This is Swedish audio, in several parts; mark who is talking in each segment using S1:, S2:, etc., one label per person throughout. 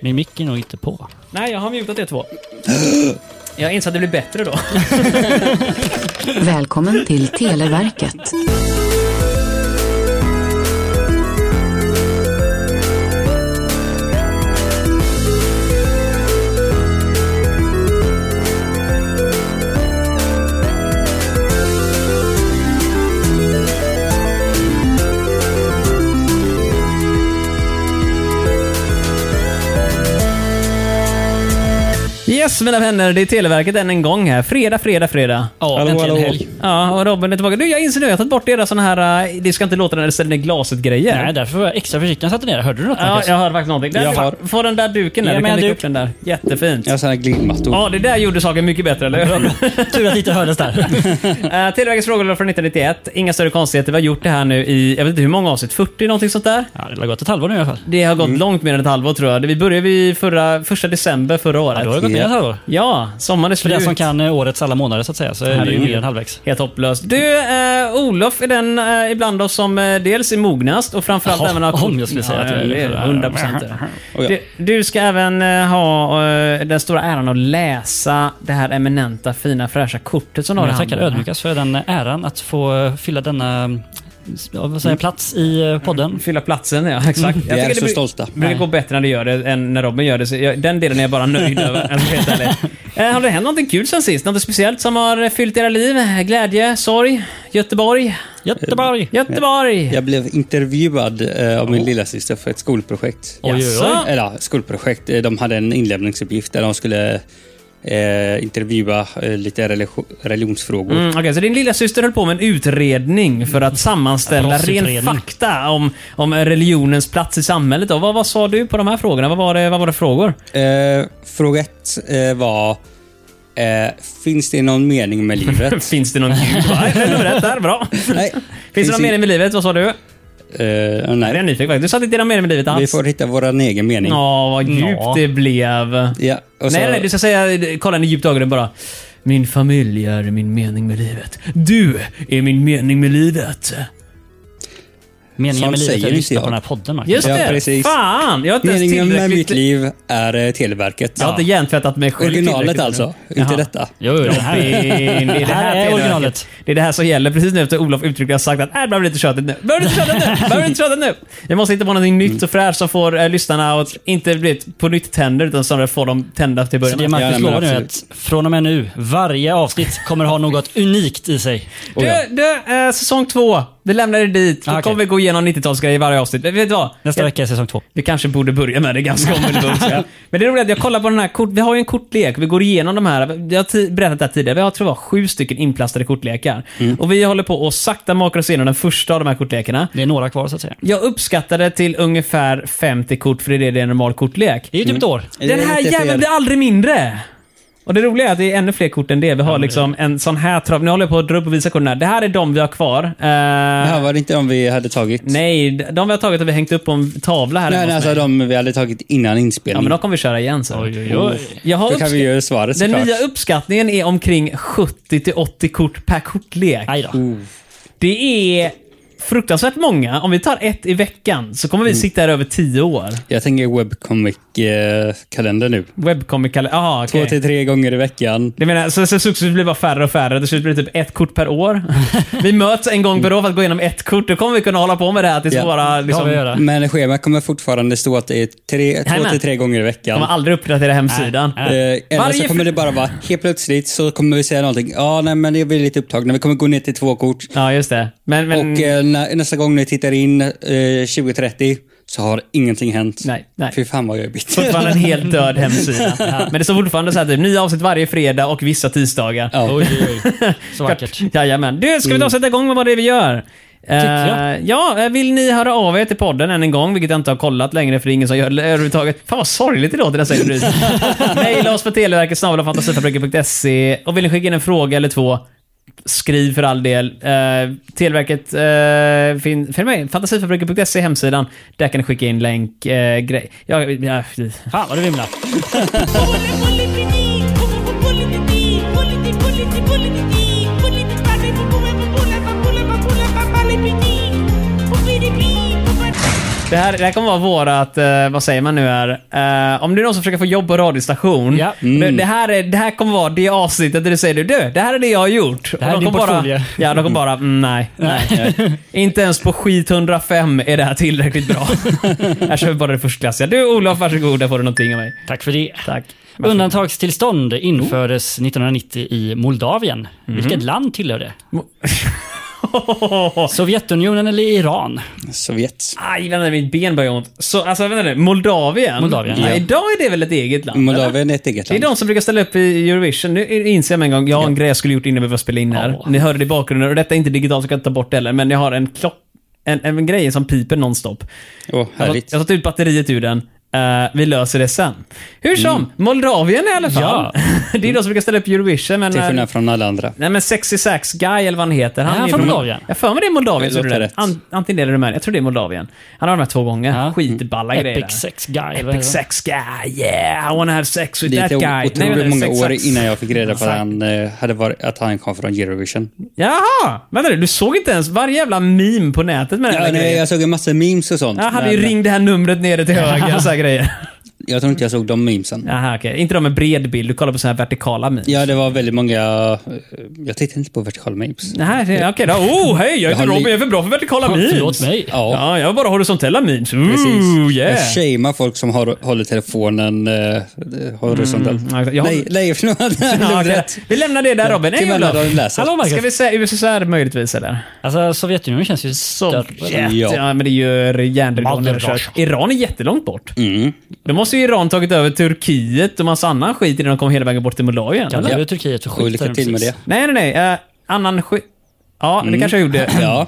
S1: Min mick är nog inte på.
S2: Nej, jag har mutat er två. Jag inser att det blir bättre då.
S3: Välkommen till Televerket.
S2: Yes, mina vänner. Det är Televerket än en gång här. Fredag, fredag, fredag.
S1: Ja,
S4: Hallå,
S1: äntligen
S4: hallå.
S1: helg.
S2: Ja, och Robin är tillbaka. Du, jag inser nu. Jag har tagit bort era såna här... eh, Det ska inte låta när det ställer ner glaset-grejer.
S1: Nej, därför var jag extra försiktig när jag satte ner det. Hörde du något
S2: Ja,
S1: Marcus?
S2: jag hör faktiskt någonting. Där,
S4: Jag har.
S2: Få den där duken där.
S1: Ge
S2: Du
S1: mig
S2: kan
S1: en
S2: lägga
S1: duk.
S2: upp den där. Jättefint.
S4: Jag har sådana här glimmattor.
S2: Ja, det där gjorde saken mycket bättre, eller hur?
S1: Tur att det inte hördes där.
S2: uh, Televerkets frågelåda från 1991. Inga större konstigheter. Vi har gjort det här nu i, jag vet inte hur många avsnitt, 40 någonting sånt där.
S1: ja, det har gått ett halvår nu i alla fall.
S2: Det har gått långt mer än ett halvår tror jag. Vi började vid förra, första december förra
S1: Ja,
S2: året.
S1: då har det gått ner ett halvår.
S2: Ja, sommaren är
S1: För
S2: slut.
S1: den som kan eh, årets alla månader så att säga, så är det ju mer än halvvägs.
S2: Helt hopplöst. Du, eh, Olof är den eh, ibland oss som eh, dels är mognast och framförallt
S1: Jaha,
S2: även har...
S1: om jag skulle säga att jag är
S2: det.
S1: det.
S2: 100 procent.
S4: Oj, ja.
S2: Du, du ska även eh, ha eh, den stora äran att läsa det här eminenta, fina, fräscha kortet som du har i
S1: Mm, Jag tackar
S2: handen.
S1: ödmjukast för den äran att få eh, fylla denna mm, s- ja, vad säger, jag, plats i eh, podden.
S2: Fylla platsen, ja. Exakt.
S4: Mm. Vi är
S2: tycker
S4: så
S2: bru-
S4: stolta.
S2: brukar
S1: Nej.
S2: gå bättre när du gör det än när Robin gör det. Så jag, den delen är jag bara nöjd över. Alltså, helt ärligt. Eh, har det hänt någonting kul sen sist? Något speciellt som har fyllt era liv? Glädje, sorg, Göteborg?
S1: Göteborg!
S2: Göteborg!
S4: Jag blev intervjuad eh, av min lillasyster för ett skolprojekt.
S1: Oj, oj,
S2: Jaså?
S1: oj.
S4: Eller ja, skolprojekt. Eh, De hade en inlämningsuppgift där de skulle eh, intervjua eh, lite religi- religionsfrågor.
S2: Mm, okej, så din lilla syster höll på med en utredning för att sammanställa
S1: Brottsutredning.
S2: ren fakta om, om religionens plats i samhället. Då. Vad, vad sa du på de här frågorna? Vad var det, vad var det frågor? Mm.
S4: Eh, fråga ett eh, var eh, Finns det någon mening med livet?
S2: Finns det någon gud? Nej, det är rätt där. Bra.
S4: Nej.
S2: Finns det någon
S4: ing-
S2: mening med livet? Vad sa du?
S4: Eh,
S2: Jag är
S4: nej.
S2: nyfiken faktiskt. Du satte inte någon mening med livet
S4: Vi
S2: alls.
S4: får hitta vår egen mening.
S2: Ja, vad djupt
S1: Ja.
S2: det blev.
S4: Ja, och så,
S2: Nej, nej, du ska säga, kolla henne djupt i ögonen bara. Min familj är min mening med livet. Du är min mening med livet.
S1: Meningen
S4: Sånt
S1: med livet är
S4: säger
S1: att
S4: inte
S1: lyssna
S4: jag.
S1: på den här podden, Marcus.
S2: Just
S4: Ja,
S2: det!
S4: precis.
S2: Fan! Jag har inte ens
S4: Meningen med mitt
S2: tillräckligt...
S4: liv är eh, Televerket.
S2: Jag har inte hjärntvättat mig själv
S4: Originalet
S2: tillräckligt.
S4: alltså,
S2: Jaha.
S4: inte detta.
S1: Jo, jo, det här är,
S2: Robin,
S1: det här är
S2: Televerket.
S1: originalet.
S2: Det är det här som gäller precis nu efter Olof uttryckligen har sagt att äh, behöver inte tjötigt nu. Behöver inte tjötigt nu. Behöver inte tjötigt nu. Jag måste hitta på någonting nytt och fräscht som får eh, lyssnarna att inte bli ett- på nytt tänder utan snarare får dem tända till
S1: Så det
S2: början.
S4: Ja,
S1: Marcus
S4: nej, men
S1: lovar nu är att
S4: absolut.
S1: från och med nu, varje avsnitt kommer ha något unikt i sig.
S4: Oh, ja.
S2: Du, du eh, säsong två. Vi lämnar det dit. Då
S1: Ah, okej.
S2: kommer vi gå igenom 90-talsgrejer i varje avsnitt. Men Vet du vad?
S1: Nästa
S2: Jag-
S1: vecka är säsong två.
S2: Vi kanske borde börja med det ganska omedelbart. tror jag. Men det är roligt att jag kollar på den här kort... Vi har ju en kortlek. Vi går igenom de här. Jag har ti- berättat det här tidigare. Vi har tror jag sju stycken inplastade kortlekar.
S1: Mm.
S2: Och vi håller på och sakta makar oss igenom den första av de här kortlekarna.
S1: Det är några kvar så att säga.
S2: Jag uppskattade till ungefär 50 kort, för det är det det är en normal kortlek.
S1: Det är ju typ ett år.
S2: Den här
S4: lite
S2: jäveln
S4: fel.
S2: blir aldrig mindre! Och det roliga är att det är ännu fler kort än det. Vi har liksom en sån här trav. Nu håller jag på att dra upp och visa korten här. Det här är de vi har kvar. Eh,
S4: Det här var det inte de vi hade tagit?
S2: Nej, de vi har tagit har vi hängt upp på en tavla här
S4: Nej,
S2: hemma
S4: nej
S2: hos
S4: alltså
S2: mig.
S4: de vi hade tagit innan
S2: Ja, men
S4: inspelning.
S2: då kommer vi köra igen sen.
S1: Oj, oj, oj.
S2: Jag har
S4: Då kan vi
S2: uppskatt-
S4: göra svaret
S2: Den
S4: såklart.
S2: nya uppskattningen är omkring 70-80 kort per kortlek.
S1: Aj då.
S2: Det är fruktansvärt många. Om vi tar ett i veckan så kommer vi
S4: Mm.
S2: sitta här över 10 år.
S4: Jag tänker webcomic-kalender nu.
S2: Webcomic kalender. Jaha,
S4: Två
S2: okej.
S4: till tre gånger i veckan.
S2: Det menar, så, så successivt blir det bara färre och färre. Till slut blir det typ ett kort per år. vi möts en gång per år för att gå igenom ett kort. Då kommer vi kunna hålla på med det här tills
S4: Ja.
S2: våra...
S1: Det har
S2: Liksom,
S1: vi att göra.
S4: Men schemat kommer fortfarande stå att det är tre, två
S2: Jajamän.
S4: till tre gånger i veckan.
S2: kommer aldrig uppdatera hemsidan.
S1: Nej.
S4: Eh, eller
S2: Varje-
S4: så kommer det bara vara helt plötsligt så kommer vi säga någonting. Ja, nej men det blir lite upptagna. Vi kommer gå ner till två kort.
S2: Ja, just det. Men, men,
S4: Och eh, nä, nästa gång ni tittar in eh, 2030 så har ingenting hänt.
S2: Nej, nej.
S4: Fy fan vad jag är bitter.
S2: Fortfarande en helt död hemsida. Men det står fortfarande så här typ, nya avsnitt varje fredag och vissa tisdagar.
S4: Ja.
S1: Oj, oj, oj. Så vackert. Mm.
S2: Jajamän. Du, ska vi ta och sätta igång med vad det är vi gör?
S1: jag.
S2: Eh, ja, eh, vill ni höra av er till podden än en gång, vilket jag inte har kollat längre för det är ingen som gör det överhuvudtaget. Fan vad sorgligt det låter när jag säger det. Maila oss på televerket snabelafantasitafabriken.se och vill ni skicka in en fråga eller två, skriv för all del. Eh, televerket, uh, fin, följ med, fantasifabriken.se är hemsidan. Där kan ni skicka in länk, uh, grej. Ja, ja,
S1: Fan vad du vimlar.
S2: Det här, det här kommer vara vårat, eh, vad säger man nu här? Eh, om det är någon som försöker få jobb på radiostation.
S1: Ja.
S2: Det, det, här är, det här kommer vara det avsnittet där du säger du, "Du, det här är det jag har gjort.
S1: Det här
S2: Och de
S1: är din
S2: kommer bara,
S1: portfolio.
S2: Ja, de kommer bara, mm, nej. nej. Inte ens på skit 105 är det här tillräckligt bra. här kör vi bara det förstklassiga. Du Olof, varsågod, där får du någonting av mig.
S1: Tack för det.
S2: Tack.
S1: Undantagstillstånd infördes 1990 i Moldavien. Vilket land tillhör det? Sovjetunionen eller Iran?
S4: Sovjet.
S2: Aj, vänta mitt ben börjar göra ont. Så, alltså vänta nu, Moldavien?
S1: Moldavien,
S2: ja.
S1: ja.
S2: Idag är det väl ett eget land? eller?
S4: Moldavien är ett eget
S2: Det är
S4: land.
S2: de som brukar ställa upp i Eurovision. Nu inser jag med en gång, jag har en grej jag skulle gjort innan vi började spela in här.
S1: Ja.
S2: Ni hörde det i bakgrunden och detta är inte digitalt så jag kan inte ta bort det heller, men jag har en klock... En, en grej som piper nonstop.
S4: Åh,
S2: Jag har, jag
S4: härligt.
S2: har tagit ut batteriet ur den. Eh, vi löser det sen. Hur som, Moldavien i alla fall.
S1: Mm. Ja.
S2: det är de som brukar ställa upp i Eurovision, men...
S4: Till
S2: eh,
S4: skillnad från alla andra.
S2: Nej men 66 Guy eller vad han heter.
S1: Är han
S2: är
S1: från Moldavien?
S2: Jag för mig det är Moldavien.
S4: Det
S2: tror du
S4: låter
S2: det?
S4: rätt.
S2: An, antingen det eller Rumänien. Jag tror det är Moldavien. Han har de här två gånger.
S1: Ja. Mm.
S2: Skitballa grejer.
S1: Epic
S2: där.
S1: sex guy. eller vad
S2: Epic
S1: heter det?
S2: sex guy, yeah! I wanna have sex with
S4: Det
S2: that
S4: är
S2: guy.
S4: o-
S2: Nej, vänta,
S4: otroligt många
S2: sex,
S4: år
S2: sex.
S4: innan jag fick reda på att
S2: Exakt.
S4: han, eh, hade varit, att han kom från Eurovision.
S2: Jaha! Vänta nu, du såg inte ens varje jävla meme på nätet med den
S4: Ja,
S2: här
S4: nej,
S2: grejen?
S4: jag såg en massa memes och sånt.
S2: Jag hade
S4: men
S2: ju ring det här numret nere till höger och så här grejer.
S4: Jag tror inte jag såg de memesen.
S2: Jaha, okej. Inte de med bred bild. Du kollar på så här vertikala memes.
S4: Ja, det var väldigt många... eh, Jag tittade inte på vertikala memes.
S2: Nähä, det- okej då. Oh, hej! Jag
S4: Jag
S2: heter
S4: har li-
S2: Robin. Jag är för bra för vertikala memes.
S1: Förlåt mig.
S4: Ja.
S2: Ja, jag har bara horisontella memes. Ooh,
S4: Precis.
S2: yeah.
S4: Jag shamear folk som har, håller telefonen eh, horisontellt.
S2: ja, Mm. jag har-
S4: Nej, nej, förlåt.
S2: Ja, okej.
S4: rätt.
S2: Vi lämnar det där Robin. Nej,
S4: till
S2: Olof.
S4: Mellandagen läser.
S1: Hallå, Marcus.
S2: Ska vi säga USSR möjligtvis eller?
S1: Alltså Sovjetunionen känns ju större.
S2: Sovjet. Ja. men det gör järnridån
S1: Balder-
S2: överkörd. Iran är jättelångt bort.
S4: Mm.
S2: Då måste ju Iran tagit över Turkiet och massa annan skit innan de kom hela vägen bort till Moldavien.
S1: Kan
S2: eller?
S1: du Turkiet så
S4: Och
S1: skiter
S4: lycka
S1: de
S4: till med
S1: precis.
S4: det.
S2: Nej, nej, nej. Eh, annan skit. Ja, det kanske jag gjorde.
S4: Mm. Ja,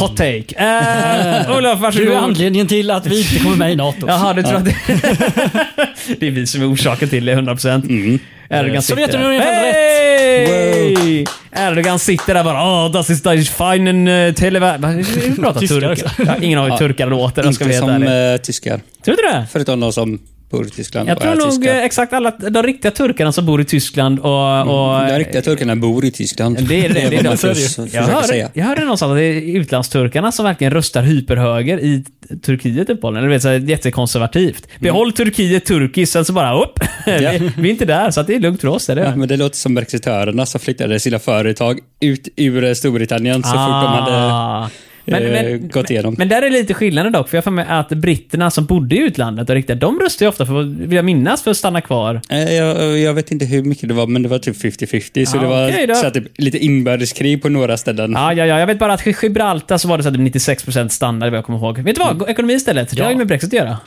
S2: Hot take. Uh, Olof, varsågod.
S1: Du är anledningen till att vi inte kommer med i NATO.
S2: Jaha, du tror att det... det är vi som är orsaken till det, 100%. Mm. Erdogan sitter
S1: Sovjetunionen
S2: där.
S1: hade
S2: Hey! Erdogan sitter där bara “Ah, das ist die feinen uh, Telever...” Vad- Hur pratar
S1: Tyskar
S2: turkar?
S1: också.
S2: Ja, ingen har hur
S4: Ja,
S2: turkar låter, jag ska
S4: inte
S2: vi
S4: som
S2: veta.
S4: eh, tyskar.
S2: Tror du det?
S4: Förutom de som bor i Tyskland
S2: Jag
S4: och är
S2: tror nog eh,
S4: tyskar.
S2: exakt alla de riktiga turkarna som bor i Tyskland och... och
S4: Mm. De riktiga turkarna bor i Tyskland.
S2: det är det. det, är
S4: vad man
S2: det.
S4: förs-
S2: Jag,
S4: försöker
S2: hörde,
S4: säga.
S2: jag hörde någonstans att det är utlandsturkarna som verkligen röstar hyperhöger i Turkiet uppenbarligen. Eller du vet, så här, jättekonservativt. Behåll Turkiet turkiskt, sen så bara upp.
S4: Mm. Ja. Mm.
S2: vi, vi är inte där, så att det är lugnt för oss. Är det?
S4: Ja, men det låter som brexitörerna som flyttade sina företag ut ur eh, Storbritannien så fort de hade
S2: Ah.
S4: eh, gått igenom.
S2: Men där är lite skillnaden dock, för jag har för mig att britterna som bodde i utlandet och riktigt, de röstar ju ofta för, vill jag minnas, för att stanna kvar.
S4: Eh, Jag, jag vet inte hur mycket det var, men det var typ 50-50. Så
S2: Ja,
S4: det var
S2: Ah, okej då. Ah.
S4: så här, typ, lite inbördeskrig på några ställen.
S2: Ja, ja, ja. Jag vet bara att i Gibraltar så var det så att 96% standard, vad jag kommer ihåg. Vet du vad? Gå- Ekonomi istället. Det har ju
S1: Mm. Ja.
S2: med Brexit att göra.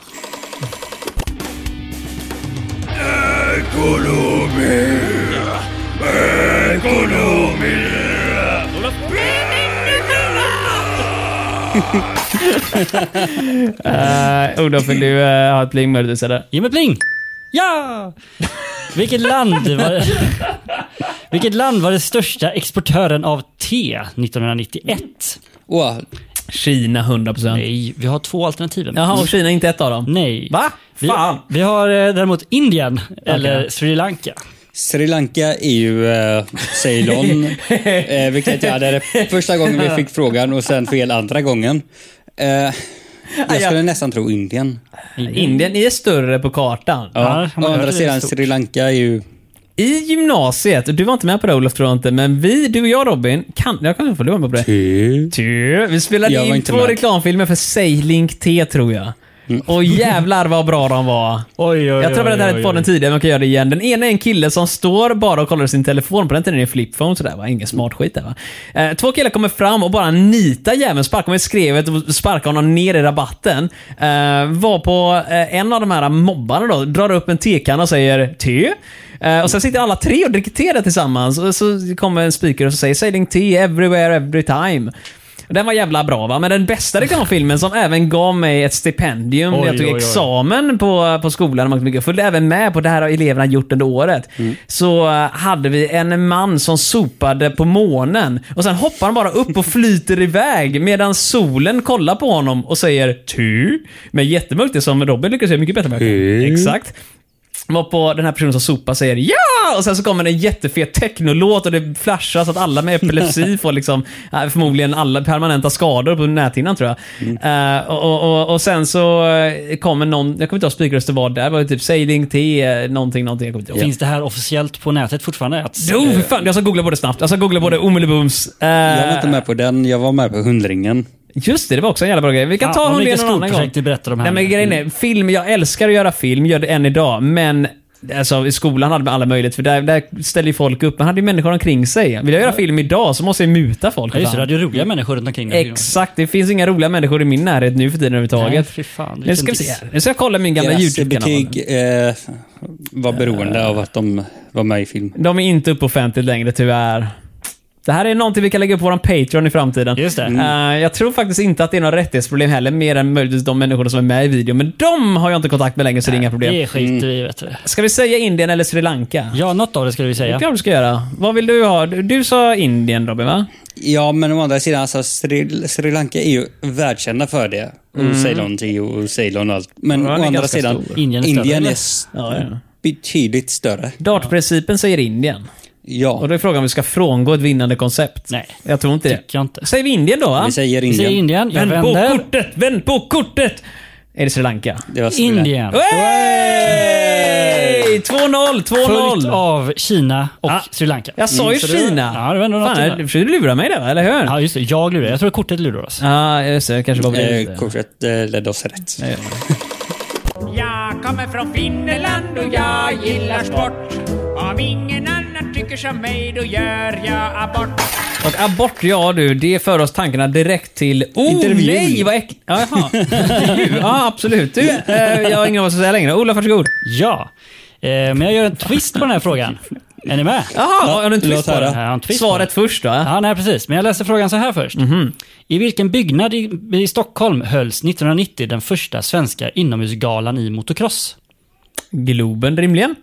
S2: Uh, Olof, vill du eh, ha ett pling möjligtvis eller?
S1: Ge mig pling! Ja! Vilket land var det? Vilket land var den största exportören av te 1991?
S4: Åh,
S2: Kina 100%.
S1: Nej, vi har två alternativ.
S2: Jaha, och Kina är inte ett av dem?
S1: Nej.
S2: Va?
S1: Vi,
S2: Fan!
S1: vi har eh, däremot Indien eller Sri Lanka.
S4: Sri Lanka är ju eh, Ceylon, eh, vilket jag hade första gången vi fick frågan och sen fel andra gången. Eh,
S2: Ah,
S4: jag skulle nästan tro Indien.
S2: Indien är större på kartan.
S1: Ja,
S4: Ja,
S1: man
S4: å
S1: hör det
S4: andra sidan,
S1: stort.
S4: Sri Lanka är ju...
S2: I gymnasiet, du var inte med på det Olof tror jag inte, men vi, du och jag Robin, kan, jag kan få du var med på det.
S4: Typ.
S2: Ty, Vi spelade
S4: Jag var
S2: in
S4: inte
S2: två
S4: med. Mm.
S2: reklamfilmer för Sailink T tror jag. Och jävlar vad bra de var.
S1: Oj, oj,
S2: Jag tror att det här är på den tidigare, men jag kan göra det igen. Den ena är en kille som står bara och kollar i sin telefon. På den tiden är det flipphone sådär va? Ingen smart skit där va? Eh, två killar kommer fram och bara nitar jäveln, sparkar med skrevet och sparkar honom ner i rabatten. Eh, var på eh, en av de här mobbarna då, drar upp en tekanna och säger te. Eh, och sen sitter alla tre och dricker te där tillsammans. Och så kommer en speaker och så säger Sailing tea everywhere, every time. Den var jävla bra va, men den bästa reklamfilmen som även gav mig ett stipendium när
S1: Oj,
S2: jag tog
S1: oj, oj.
S2: examen på, på skolan. och mycket. Jag följde även med på det här har eleverna gjort under året.
S1: Mm.
S2: Så eh, hade vi en man som sopade på månen och sen hoppar han bara upp och flyter iväg medan solen kollar på honom och säger tu. Men jättemörkt, det som Robin lyckas göra mycket bättre med. Exakt. Var på den här personen som sopar säger ja! Och sen så kommer det en jättefet technolåt och det flashar så att alla med epilepsi får liksom, eh, förmodligen alla permanenta skador på näthinnan tror jag.
S4: Mm.
S2: Eh, och- och, och, och sen så eh, kommer någon, jag kommer inte ihåg spikröster vad det är, det var ju typ Sailing T, eh, någonting, någonting. Jag kommer inte ihåg.
S1: Finns det här officiellt på nätet fortfarande? Att,
S2: Jo, för fan, jag ska googla på det snabbt. Jag ska googla på det omelibooms. Eh,
S4: Jag var inte med på den, jag var med på hundringen.
S2: Just det, det var också en jävla bra grej. Vi kan
S1: Fan,
S2: ta
S1: vad
S2: hundringen
S1: mycket
S2: någon annan gång.
S1: skolprojekt du berättar om här
S2: Nej, men
S1: nu.
S2: grejen är, film, jag älskar att göra film, gör det än idag, men Alltså i skolan hade man alla möjligheter för där, där ställer ju folk upp. Man hade ju människor omkring sig. Vill jag göra film idag så måste jag muta folk.
S1: Ja, just det, du
S2: fan.
S1: hade ju roliga människor runt omkring dig.
S2: Exakt, det finns inga roliga människor i min närhet nu för tiden
S1: Nej,
S2: överhuvudtaget.
S1: fy fan,
S2: nu ska vi
S1: vilken
S2: se.
S1: diss.
S2: här. Nu ska jag kolla min gamla
S4: Deras
S2: YouTube-kanal.
S4: betyg eh, var beroende av att de var med i film.
S2: De är inte uppe offentligt längre tyvärr. Det här är någonting vi kan lägga upp på vår Patreon i framtiden.
S1: Just det.
S2: Eh, jag tror faktiskt inte att det är några rättighetsproblem heller, mer än möjligtvis de människorna som är med i videon. Men de har jag inte kontakt med längre, så det är inga problem.
S1: Det skiter vi i, vet du.
S2: Ska vi säga Indien eller Sri Lanka?
S1: Eh. Ja, något av det skulle vi
S2: Det
S1: säga.
S2: kanske vi ska göra. Vad vill du ha? Du, du sa Indien, Robin, va?
S4: Ja, men å andra sidan, alltså, Sri, Sri Lanka är ju världskända för det. Och Ceylon Teo och Ceylon och allt. Men
S2: Ja, den
S4: å
S2: är
S4: andra
S2: ganska
S4: sidan,
S2: stor.
S1: Indien är större,
S4: Indien
S1: eller?
S4: är s-
S2: Ja, ja.
S4: betydligt större.
S2: Eh. Dartprincipen säger Indien. Och
S4: Ja,
S2: då är frågan om vi ska frångå ett vinnande koncept.
S1: Nej.
S2: Jag tror inte det.
S1: Tycker jag inte.
S2: Säger vi Indien då, va?
S4: vi säger
S1: Vi säger
S4: Indien.
S1: Indien, jag
S2: Vänd på
S1: vänder.
S2: kortet! Vänd på kortet! Är det Sri Lanka?
S4: Det var Sri Lanka.
S1: Indien.
S2: Hey! 2-0,
S1: Följt
S2: 2-0.
S1: av Kina och
S2: Ah.
S1: Sri Lanka. Mm,
S2: Jag sa ju
S1: så det-
S2: Kina.
S1: Ja, det var ändå något
S2: Fan,
S1: till
S2: du försökte lura mig där, va? eller hur?
S1: Ja, just det. Jag lurar. Jag tror kortet lurar oss.
S2: Ja, just det. Jag kanske var på det.
S4: Eh,
S2: lite.
S4: kortet eh, ledde oss rätt.
S2: Nej.
S5: Jag kommer från Finland och jag gillar sport. Om ingen annan tycker som mig då gör jag abort.
S2: Och abort, ja du, det för oss tankarna direkt till... Oh
S4: Intervjun.
S2: nej, vad äckligt! Jaha. Intervju. ja, absolut. Du, eh, jag har ingen aning vad jag ska säga längre. Ola, varsågod.
S1: Ja. Eh, men jag gör en twist på den här frågan. Är ni med?
S2: Jaha, har du en twist
S4: låt
S2: på
S4: höra.
S2: det?
S1: Ja, en twist på
S2: Svaret först då?
S1: Ja, nej precis. Men jag läser frågan så här först. I vilken byggnad i, i Stockholm hölls 1990 den första svenska inomhusgalan i motocross?
S2: Globen, rimligen.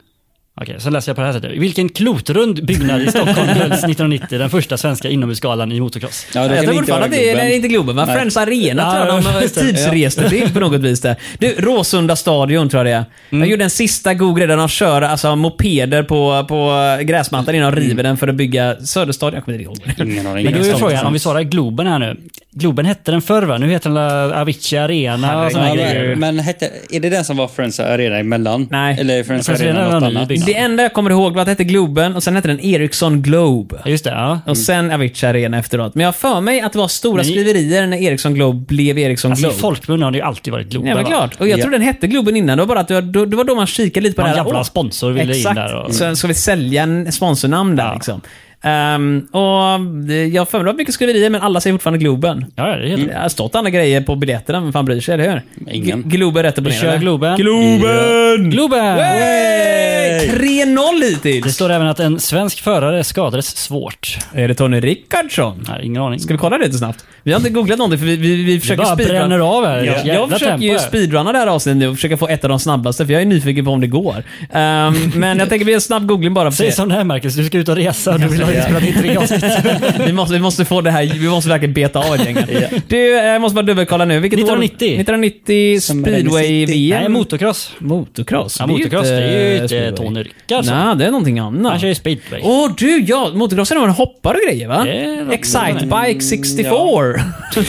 S1: Okej, så läser jag på det här sättet. I vilken klotrund byggnad i Stockholm hölls 1990 den första svenska inomhusgalan i motocross?
S4: Ja, då
S2: jag
S4: kan
S2: tror
S4: vi inte
S2: fortfarande
S4: göra
S2: att det är, nej,
S4: Globen.
S2: inte Globen, va?
S4: Nej.
S2: Friends Arena
S1: Ja,
S2: tror jag de
S1: ja,
S2: har
S1: just det.
S2: tidsreste till på något vis där. Du, Råsunda stadion tror jag det är. Jag gjorde en sista Google redan av att köra alltså, mopeder på, på gräsmattan innan de river den för att bygga Söderstadion. Jag kommer inte ihåg.
S4: Ingen aning.
S1: Men då är ju
S4: Ingen
S1: frågan,
S4: aning.
S1: om vi svarar Globen här nu. Globen hette den förr va? Nu heter den la Avicii Arena och såna här
S4: Ja,
S1: grejer.
S4: men, men hette, är det den som var Friends Arena emellan?
S2: Nej.
S4: Eller är Friends,
S1: Friends
S4: Arena,
S1: Arena var
S4: något
S1: ny
S4: annat?
S1: byggnad.
S2: Det enda jag kommer ihåg var att det hette Globen och sen hette den Ericsson Globe.
S1: Ja, Just det, ja.
S2: Och sen Avicii Arena efteråt. Men jag har för mig att det var stora
S1: Men-
S2: skriverier när Ericsson Globe blev Ericsson
S1: Alltså, I
S2: Globe.
S1: folkmun har det ju alltid varit Globen.
S2: Nej, men
S1: va?
S2: klart. Och jag
S4: Ja.
S2: tror den hette Globen innan. Det var bara att det var, då- det var då man kikade lite på
S1: Någon
S2: det här.
S1: jävla
S2: Åh,
S1: sponsor ville in
S2: exakt.
S1: där och-
S2: Sen ska vi sälja en sponsornamn där liksom. Ehm, och eh, jag har för mig att det var mycket skriverier, men alla säger fortfarande Globen.
S1: Ja, ja, det heter
S2: Det har stått andra grejer på biljetterna, men fan bryr sig, eller hur?
S4: Ingen.
S2: G- Globen rätt upp och
S1: Vi
S2: ner,
S1: kör
S2: eller?
S1: Globen.
S2: Globen!
S1: Globen!
S2: Hey! 3-0
S1: Det
S2: hittills.
S1: står även att en svensk förare skadades svårt.
S2: Är det Tony Rickardsson?
S1: Nej, ingen aning.
S2: Ska vi kolla det lite snabbt? Vi har inte googlat någonting för vi, vi, vi försöker
S1: bara bränner av här.
S2: Ja,
S1: Jävla
S2: jag försöker
S1: tempo
S2: ju
S1: här.
S2: speedrunna det här avsnittet nu och försöka få ett av de snabbaste för jag är nyfiken på om det går. Ehm, men jag tänker vi gör en snabb googling bara för
S1: Säg
S2: det.
S1: som det är Marcus, du ska ut och resa och du vill ha inspelat in tre avsnitt.
S2: Vi måste, vi måste få det här, vi måste verkligen beta av ett gäng. Du, eh, jag måste bara dubbelkolla nu. Vilket år-
S1: 1990.
S2: 1990
S4: Som Remi City.
S2: speedway-VM.
S1: Nej, motocross.
S2: motocross.
S1: Ja, motocross, det är ju inte
S2: speedway.
S1: Tony Rickardsson.
S2: Nej, det är någonting annat.
S1: Han kör ju speedway.
S2: Åh du, ja. Motocrossen har en hoppar och grejer va?
S1: Det är något-
S2: Excite Bike 64.
S4: Det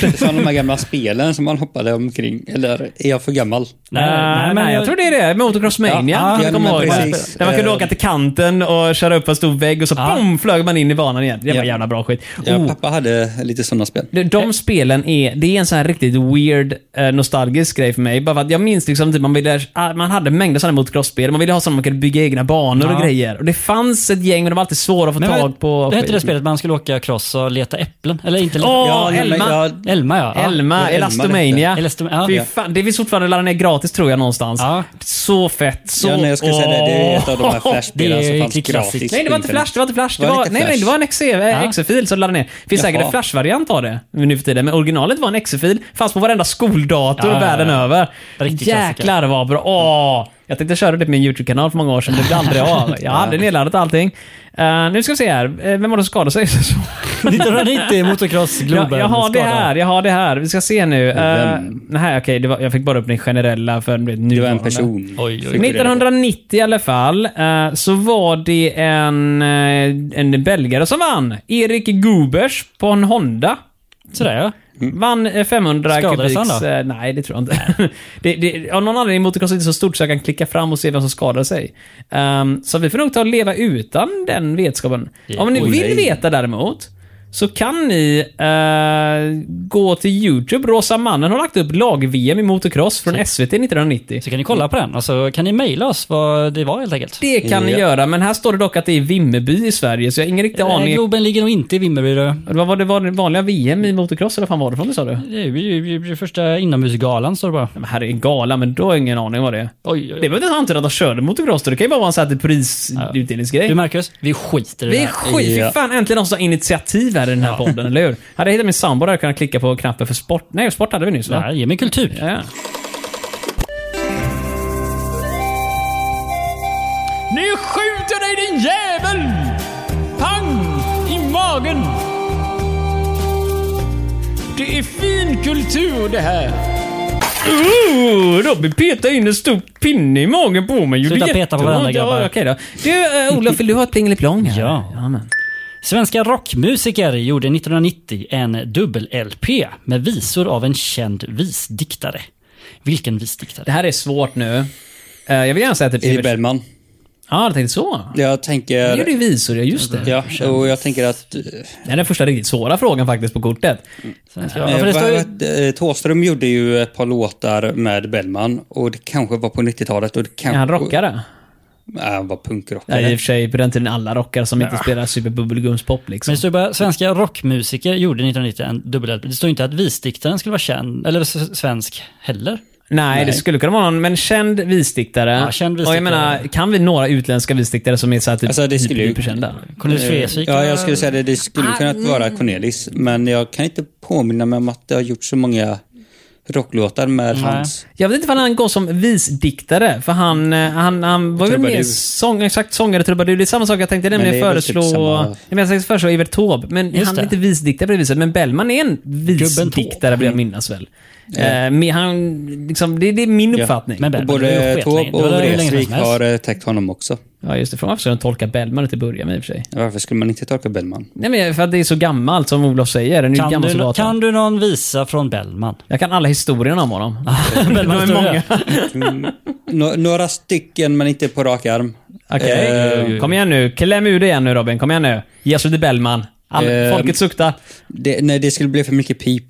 S4: är Som de här gamla spelen som man hoppade omkring. Eller är jag för gammal?
S2: Nej, nej, Eh, men jag tror det är det. Motocross Mania.
S4: Ja,
S2: jag kommer
S4: men
S2: ihåg.
S4: precis.
S2: Där man kunde
S4: Eh.
S2: åka till kanten och köra upp en stor vägg och så
S1: Ja.
S2: boom, flög man in i banan igen. Det var
S4: Ja.
S2: jävla bra skit.
S4: Ja,
S2: Oh.
S4: Pappa hade lite sådana spel.
S2: De, de spelen är, det är en sån här riktigt weird, eh, nostalgisk grej för mig. Bara för att jag minns liksom typ man ville, ah, man hade mängder sådana motocross-spel. Man ville ha sådana man kunde bygga egna banor och
S1: Ja.
S2: grejer. Och det fanns ett gäng, men de var alltid svåra att få
S1: Men vad-
S2: tag på.
S1: Det hette det spelet man skulle åka cross och leta äpplen. Eller inte leta.
S2: Åh,
S4: Ja, nej, men
S2: Elma!
S4: jag-
S1: Elma ja. Ja.
S2: Elma,
S4: det är Elma
S2: Elastomania.
S1: detta. Elastom- ja.
S2: Fy
S1: Ja.
S2: fan, det finns fortfarande att ladda ner gratis tror jag någonstans.
S1: Ja.
S2: Så fett. Så...
S4: Ja, nej, jag skulle säga det. Det är ett av de här
S2: Åh!
S4: flashspelen
S1: Det är
S4: som fanns
S1: riktigt klassiskt.
S4: gratis.
S2: Nej, det var inte
S4: på internet.
S2: Flash. Det var inte Flash. Det
S4: Var
S2: var,
S4: det inte
S2: nej, nej, det var
S4: Flash?
S2: en XE eh,
S1: Ja.
S2: exe-fil som du laddade ner. Det finns säkert
S4: Jaha.
S2: en Flash-variant av det nu för tiden, men originalet var en exe-fil. Fanns på varenda skoldator
S1: Ja, ja, ja.
S2: världen över.
S1: Riktig klassiker.
S2: Jäklar vad bra. Åh! Jag tänkte köra det på min YouTube-kanal för många år sedan, men det blev aldrig av. Jag hade nedladdat allting. Eh, nu ska vi se här. Eh, vem var det som skadade sig?
S1: 1990 motocross Globen.
S2: jag, jag har det
S1: skada.
S2: här, jag har det här. Vi ska se nu. Uh,
S4: Vem?
S2: nej, okej. det var- jag fick bara upp den generella för nu.
S4: Det var en person.
S1: Oj, oj, oj.
S4: Fick du reda på.
S2: 1990 i alla fall, eh, så var det en, eh, en belgare som vann. Erik Gubers på en Honda.
S1: Sådär ja.
S2: Vann eh, 500
S1: Skadades
S2: kubiks...
S1: han då?
S2: eh, Nej, det tror jag inte. det, det, av någon anledning är motocross inte så stort så jag kan klicka fram och se vem som skadade sig. Ehm, så vi får nog ta och leva utan den vetskapen.
S1: Ja,
S2: Om ni
S4: oj,
S2: vill
S4: nej.
S2: veta däremot, så kan ni eh, gå till YouTube. Rosa mannen har lagt upp lag-VM i motocross från SVT 1990.
S1: Så kan ni kolla på den och så kan ni mejla oss vad det var helt enkelt.
S2: Det kan ni
S4: Ja.
S2: göra, men här står det dock att det är Vimmerby i Sverige, så jag har ingen riktig
S1: Nej,
S2: aning.
S1: Eh, Globen ligger nog inte i Vimmerby. då.
S2: Vad var det, var det vanliga VM i motocross, eller vad fan var det från det sa du?
S1: Det är ju- det är ju första inomhusgalan står det bara.
S2: Men här är en gala, men då har jag ingen aning vad det är.
S1: Oj, oj,
S2: Det
S1: oj.
S2: behöver inte ens antyda att de körde motocross, då. det kan ju bara vara en sån här prisutdelningsgrej.
S1: Du Marcus, vi skiter i det
S2: Vi
S1: här.
S2: skit,
S4: Ja.
S2: fick fan äntligen någon som har initiativ här i den här podden, eller hur? Hade jag hittat min sambo hade jag kunnat klicka på knappen för sport. Nej, sport hade vi nyss va?
S1: Nej, ge mig kultur.
S2: Ja, ja.
S5: Nu skjuter dig din jävel! Pang! I magen! Det är fin kultur det här.
S2: Uh, Robin petade in en stor pinne i magen på mig. Gjorde
S1: Sluta peta på
S2: jätteont.
S1: varandra, grabbar.
S2: Ja, okej då. Du, uh, Olof, vill du ha ett plingeliprång här?
S1: Ja.
S2: Jajamän.
S1: Svenska rockmusiker gjorde 1990 en dubbel-LP med visor av en känd visdiktare. Vilken visdiktare?
S2: Det här är svårt nu. Eh, jag vill gärna säga typ...
S4: Erik
S2: Ja,
S4: Bellman.
S2: ah, jag tänkte så.
S4: Jag
S2: Det gjorde
S4: tänker...
S2: ju visor, ja just det.
S4: Ja, och jag tänker att... eh,
S2: Det är den första riktigt svåra frågan faktiskt på kortet.
S1: Svenska- Ja, för det
S4: vad-
S1: står ju...
S4: vad- eh, Thåström gjorde ju ett par låtar med Bellman och det kanske var på 90-talet och det
S2: Är
S4: kanske...
S2: han rockare?
S4: Nej, han var punkrockare.
S2: Nej, i och för sig, på den tiden alla rockare som inte spelar superbubbelgumspop liksom.
S1: Men det står ju bara svenska rockmusiker gjorde 1990 en dubbel-LP. Det står ju inte att visdiktaren skulle vara känd, eller s- svensk heller.
S2: Nej, det skulle kunna vara någon, men känd visdiktare.
S1: Ja, känd
S2: Och jag
S1: visdiktare.
S2: menar, kan vi några utländska visdiktare som är så här typ
S4: Alltså, det skulle ju- Eh,
S2: hyperkända?
S1: Cornelis Vreeswijk.
S4: Ja, jag skulle säga det. Det skulle kunna vara Cornelis, men jag kan inte påminna mig om att det har gjort så många rocklåtar med hans...
S2: Jag vet inte om han går som visdiktare, för han, eh, han, han var väl mer
S4: Trubadur.
S2: sång, exakt sångare trubadur. Det är samma sak jag tänkte nämligen
S4: det är väl typ
S2: föreslå...
S4: samma-
S2: Jag menar, jag tänkte föreslå Evert Taube, men
S1: Just
S2: han är
S1: det.
S2: inte visdiktare på det viset. Men Bellman är en visdiktare, vill jag minnas väl. Eh, men han, liksom, det, det är min uppfattning.
S1: Men
S4: Och
S1: Bellman, det var ju skitlänge. Det
S4: både Taube
S1: var
S4: och
S1: hur länge sedan
S4: Vreeswijk
S1: som helst.
S4: har eh, täckt honom också.
S2: Ja, just det. Frågan är varför ska de tolka Bellman ut i början med i och för sig.
S4: Varför skulle man inte tolka Bellman?
S2: Nej, men för att det är så gammalt som Olof säger. Den är ju
S1: Kan
S2: gammal
S1: du,
S2: som
S1: nå-
S2: gatan.
S1: kan du någon visa från Bellman?
S2: Jag kan alla historierna om honom.
S4: Ah.
S1: Bellman
S2: är
S1: står
S2: många.
S1: det.
S4: Nå- några stycken, men inte på rak arm.
S2: Okej.
S4: Eh,
S2: Kom igen nu. Kläm ur det igen nu Robin. Kom igen nu. Ge oss lite Bellman. All,
S4: Eh,
S2: folket suktar.
S4: det, nej, det skulle bli för mycket pip.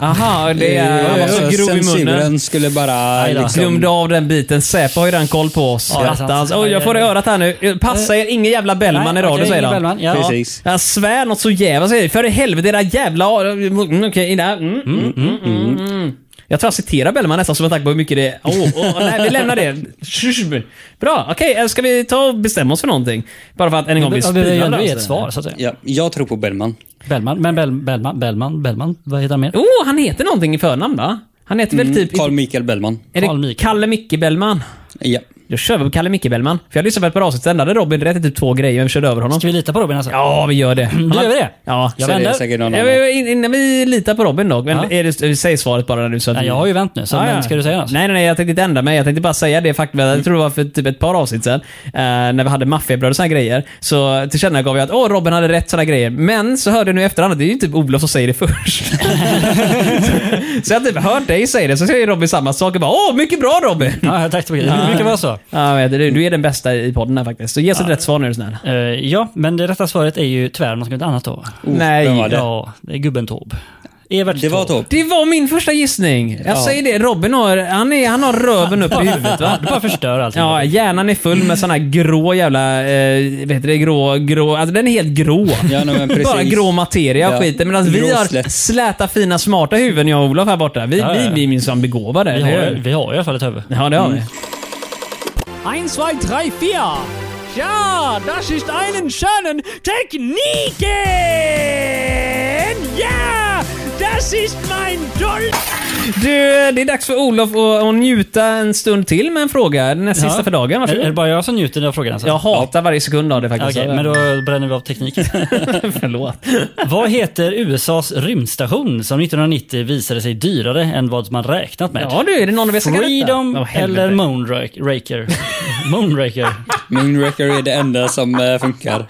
S2: Aha, det är...
S4: Eh,
S2: Han var så grov i munnen.
S4: Censuren skulle bara...
S1: Aj då.
S4: Liksom,
S2: Glömde av den biten. Säpo har ju redan koll på oss.
S1: Ja,
S2: Attans.
S1: sant, sant.
S2: Oj, jag får det i örat här nu. Passa er, ingen jävla Bellman
S1: Nej,
S2: i radio
S1: okej,
S2: säger
S1: ingen
S2: han.
S1: Bellman, ja.
S4: Precis.
S2: Han svär något så jävla säger För i helvete era jävla... Mm, Okej, där. Mm, mm, mm, mm, mm. Jag tror jag citerar Bellman nästan som en tack på hur mycket det... Åh, åh, nej, vi lämnar det. Bra, okej. eh, ska vi ta och bestämma oss för någonting? Bara för att än en gång bli
S1: Ja, Vi behöver ju ändå
S2: spirade.
S1: ge ett svar, så att säga.
S4: ja, jag tror på Bellman.
S1: Bellman, men Bell, Bellman, Bellman, Bellman, vad heter han mer?
S2: Åh, han heter någonting i förnamn va? Han heter väl typ...
S4: Carl Michael Bellman.
S2: är det
S1: Carl Michael.
S2: Kalle Micke Bellman?
S4: Ja.
S2: Då kör vi på Kalle Micke Bellman. För jag lyssnade på ett par avsnitt sen, där hade Robin rätt i typ två grejer, men vi körde över honom.
S1: Ska vi lita på Robin alltså?
S2: Ja, vi gör det. Han har-
S1: gör vi det?
S2: Ja.
S1: Jag
S4: så det är
S1: vänder.
S4: säkert någon
S2: Ja,
S4: annan.
S2: men Innan vi litar på Robin då. Men
S1: Ja.
S2: är det, säg svaret bara när du så att
S1: Nej,
S2: vi-
S1: jag har ju vänt nu, så
S2: Ja, ja.
S1: men ska du säga något?
S2: Nej, nej, nej. Jag tänkte inte ändra mig. Jag tänkte bara säga det faktum. Jag tror det var för typ ett par avsnitt sedan. eh, när vi hade maffiabröd och såna här grejer. Så tillkännagav jag att åh, Robin hade rätt såna grejer. Men så hörde jag nu i efterhand att det är ju typ Olof som säger det först. så jag har typ hört dig säga det, så säger Robin samma sak och bara åh, mycket bra Robin!
S1: Ja, tack så mycket. Det brukar vara så.
S2: Ja, men du, du är den bästa i podden här faktiskt. Så ge oss ett rätt svar nu är du snäll.
S1: Eh, ja, men det rätta svaret är ju tyvärr något annat då.
S2: nej.
S4: vem var det?
S1: Ja, Oh, det är gubben Taube. Evert
S4: Det var
S1: Taube.
S4: Taube.
S2: Oh, Det var min första gissning. Jag säger det, Robin har, han är, han har röven upp i huvudet va?
S1: Du bara förstör allting.
S2: Ja, hjärnan är full med sån här grå jävla, eh, vet du det, grå, grå, alltså den är helt grå.
S4: Ja, nej, men precis.
S2: Bara grå materia och
S4: Ja.
S2: skiten. Medan vi
S4: Grå
S2: har
S4: slätt.
S2: släta fina smarta huvuden, jag och Olof här borta. Vi,
S1: Ja, ja,
S2: vi,
S1: ja.
S2: vi är minsann begåvade.
S1: vi,
S2: eller
S1: har,
S2: hur?
S1: vi har i alla fall ett huvud.
S2: Ja, det har vi.
S5: Eins, zwei, drei, vier. Ja, das ist einen schönen Techniken. Ja, das ist mein Dolch.
S2: Du, det är dags för Olof att, att njuta en stund till med en fråga. Den näst sista
S1: Ja.
S2: för dagen.
S1: Är, är det
S2: Varsågod.
S1: bara jag som njuter av frågan? Alltså?
S2: Jag hatar varje sekund av det
S1: Okej,
S2: faktiskt.
S1: men då bränner vi av tekniken.
S2: Förlåt.
S1: vad heter USAs rymdstation som 1990 visade sig dyrare än vad man räknat med?
S2: Ja du, är det någon av er som kan detta?
S1: Freedom
S2: Åh, helvete.
S1: eller Moonraker? Moonraker.
S4: Moonraker är det enda som eh, funkar.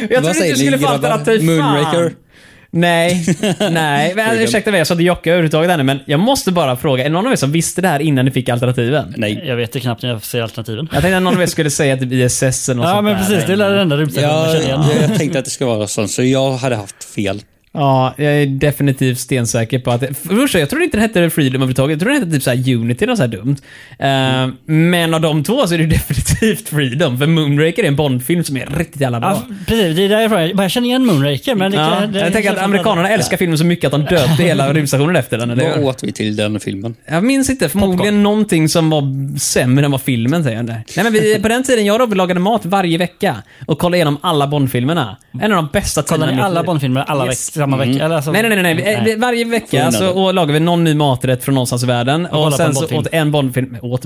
S2: Jag
S4: Vad
S2: trodde
S4: säger
S2: inte
S4: ni,
S2: du skulle få
S4: grabbar?
S2: alternativ. fan.
S4: Moonraker?
S2: Nej, nej. Men,
S4: Freedom.
S2: ursäkta mig, jag sa inte jocka överhuvudtaget här nu, men jag måste bara fråga. Är det någon av er som visste det här innan ni fick alternativen?
S4: Nej.
S1: Jag vet det knappt när jag ser alternativen.
S2: Jag tänkte att någon av er skulle säga typ ISS eller något
S1: Ja,
S2: sånt
S1: men
S2: där.
S1: precis. Det är den enda rymdstationen jag
S4: Jag,
S1: känner igen.
S4: jag, jag tänkte att det skulle vara sånt, så jag hade haft fel.
S2: Ja, jag är definitivt stensäker på att... det- Först, jag tror inte det hette Freedom överhuvudtaget. Jag tror det hette typ så här Unity eller så här dumt. Eh, Men av de två så är det definitivt Freedom. För Moonraker är en Bondfilm som är riktigt jävla bra.
S1: Ja, precis. Det är därifrån jag, jag känner igen Moonraker. Men Alltså, det,
S2: Ja,
S1: det,
S2: jag tänker att amerikanerna älskar filmen så mycket att de döpte hela rymdstationen efter den. Eller?
S4: Vad
S2: hur?
S4: åt vi till den filmen?
S2: Jag minns inte. Förmodligen någonting som var sämre än vad filmen säger. Nej, men vi, på den tiden jag och Robin lagade mat varje vecka och kollade igenom alla Bondfilmerna. En av de bästa tiderna
S1: Kollar
S2: i
S1: ni
S2: mitt
S1: alla
S2: liv.
S1: Bondfilmer alla
S2: Yes. Mm.
S1: veck, samma vecka? Eller alltså,
S2: Nej, nej, nej. nej. Vi- vi- Varje vecka
S4: Skillnaden.
S2: så och lagar vi någon ny maträtt från någonstans i världen. Och,
S1: kollar på
S2: sen
S1: en
S2: så
S1: Bondfilm.
S2: åt en Bondfilm. Åt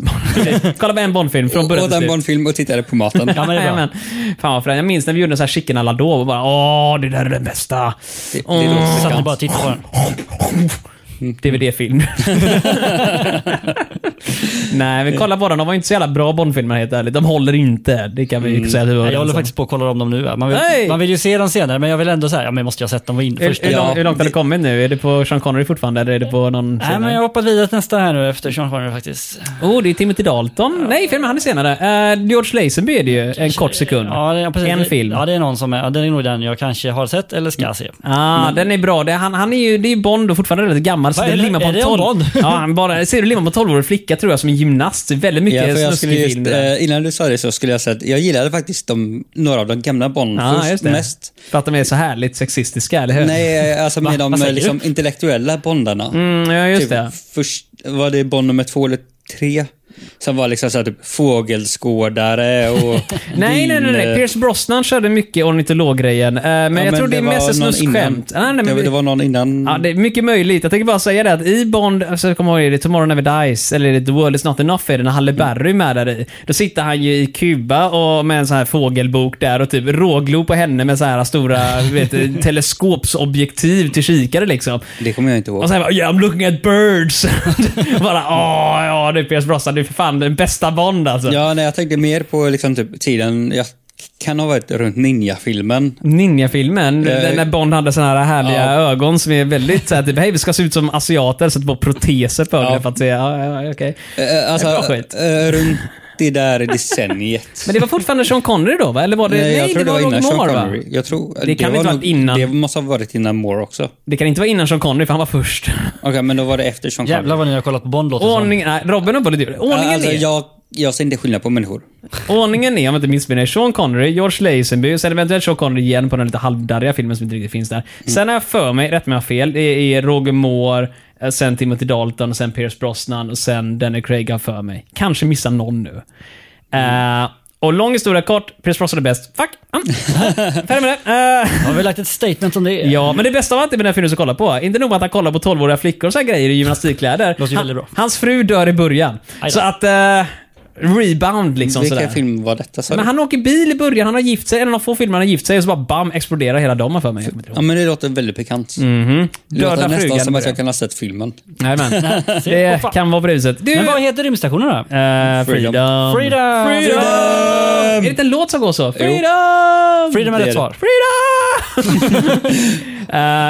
S2: Kolla på en Bondfilm från början
S4: Åt
S2: till
S4: en
S2: slut.
S4: barnfilm och tittade på maten.
S1: Ja, men det är bra.
S2: Jajamän. Fan vad fränt. Jag minns när vi gjorde en sån här chicken alla då och bara åh, det där är den bästa.
S4: Det, det låter
S1: Satt ni
S4: bekant.
S1: bara och tittade på den.
S2: DVD-film. Nej, vi kollar på den. De var inte så jävla bra Bondfilmer helt ärligt. De håller inte. Det kan vi ju säga. att vi var
S1: Mm. Nej, jag håller
S2: överens om.
S1: faktiskt på att kolla om dem nu. va? Man
S2: Nej!
S1: vill, man vill ju se dem senare, men jag vill ändå säga, ja men måste jag ha sett dem in först?
S2: Hur, hur,
S4: Ja,
S2: långt, hur långt har det kommit nu? Är det på Sean Connery fortfarande eller är det på någon
S1: Nej, men jag hoppat vidare till nästa här nu efter Sean Connery faktiskt.
S2: Oh, det är Timothy Dalton. Nej, filmen han är senare. Eh, George Lazenby är det ju. En kort sekund.
S1: Ja, det, ja, precis.
S2: En film.
S1: Ja, det är någon som är, ja, den är nog den jag kanske har sett eller ska se.
S2: Ah, den är bra. Det, han, han är ju, det är ju Bond och fortfarande väldigt gammal. Så
S1: Vad
S2: det
S1: är det-
S2: limmar på
S1: är
S2: en
S1: det om
S2: tolv-
S1: Bond?
S2: Ja, han bara, ser du limmar på en 12-årig flicka tror jag som en gymnast. Det är Väldigt
S4: Ja,
S2: mycket
S4: för jag skulle
S2: snuskig
S4: just,
S2: film. det där.
S4: eh, innan du sa det så skulle jag säga att jag gillade faktiskt de, några av de gamla Bond
S2: Ja,
S4: först
S2: Ah, just det.
S4: mest.
S2: För att de är så härligt sexistiska, eller hur?
S4: Nej, alltså med de
S1: Vad
S4: eh,
S1: säger
S4: liksom, intellektuella Bondarna.
S2: Mm, ja,
S4: Typ
S2: just det.
S4: Först var det Bond nummer två eller tre. Som var liksom så här, typ fågelskådare och...
S2: Nej, nej, nej, nej.
S4: vin-
S2: Pierce Brosnan körde mycket ornitologgrejen. Eh, men
S4: Ja,
S2: jag tror det är
S4: var
S2: mest ett
S4: någon innan.
S2: snuskskämt. Nej, nej,
S4: det,
S2: men
S4: det var någon innan.
S2: Ja, det är mycket möjligt. Jag tänker bara säga det att i Bond, alltså, kom ihåg, är det Tomorrow Never Dies, eller är det The World Is Not Enough, är det när Halle
S4: Mm.
S2: Berry är med där i. Då sitter han ju i Kuba och med en sån här fågelbok där och typ råglo på henne med så här stora du vet du, teleskopsobjektiv till kikare liksom.
S4: eh, Det kommer jag inte ihåg.
S2: Och sen bara yeah, I'm looking at birds. bara åh, ja det är Pierce Brosnan, du är för fan den bästa Bond alltså.
S4: Ja, nej, jag tänkte mer på liksom, typ, tiden, jag kan ha varit runt Ninja-filmen.
S2: Ninja-filmen,
S4: Eh,
S2: den när Bond hade såna här härliga
S4: ja.
S2: ögon som är väldigt såhär typ, hej vi ska se ut som asiater, så att det var proteser på ögonen
S4: Ja.
S2: för att se, ja, ja, ja, okej.
S4: Eh, alltså,
S2: Bra skit.
S4: eh, runt det där decenniet.
S2: Men det var fortfarande Sean Connery då va? Eller var det, nej,
S4: jag
S2: det,
S4: tror
S2: var, Roger Moore va?
S4: Connery. Jag tror,
S2: Det kan
S4: var
S2: inte
S4: nog-
S2: varit innan.
S4: Det måste ha varit innan Moore också. Okej,
S2: Det kan inte vara innan Sean Connery för han var först.
S4: men då var det efter Sean Connery.
S1: Jävlar vad ni har kollat på Bond låter det som.
S2: Ordning, nej, Robin har varit djur. Ordningen,
S4: alltså,
S2: är,
S4: jag, jag ser inte skillnad på människor.
S2: ordningen är, om jag inte missminner mig, Sean Connery, George Lazenby, sen eventuellt Sean Connery igen på den lite halvdarriga filmen som inte riktigt finns där.
S1: Mm.
S2: Sen har jag för mig, rätt mig om jag har fel, det är Roger Moore, eh, sen Timothy Dalton, och sen Pierce Brosnan och sen Danny Craig har jag för mig. Kanske missar någon nu.
S1: Mm.
S2: Eh, och lång historia kort, Pierce Brosnan är bäst. Fuck! Mm. Färdig med det. Eh,
S1: Har vi lagt ett statement om det?
S2: Ja, men det bästa av allt är med den här filmen att kolla på. Inte nog med att han kollar på 12-åriga flickor och så här grejer i gymnastikkläder.
S1: Låter ju
S2: Han-
S1: väldigt bra.
S2: Hans fru dör i början.
S1: då.
S2: Så att... eh, rebound liksom
S4: Vilken
S2: sådär.
S4: film var detta? Sa
S2: Men
S4: du?
S2: han åker bil i början, han har gift sig, en av de få filmer han har gift sig, och så bara bam exploderar hela dagen för mig. Jag kommer inte
S4: Ja,
S2: ihåg.
S4: men det låter väldigt bekant. Det
S2: Mm. Döda
S4: låter nästan
S2: frugan
S4: som att
S2: börjar.
S4: jag kan ha sett filmen.
S2: Jajamän.
S1: Se,
S2: Det
S1: åh, fan.
S2: kan vara bruset. Du!
S1: Men vad heter Ehm, rymdstationen då?
S2: eh, freedom.
S4: Freedom.
S1: Freedom!
S2: Freedom! Är det inte en låt som går så? Freedom!
S1: Freedom är
S4: Det är
S1: rätt svar.
S2: Freedom!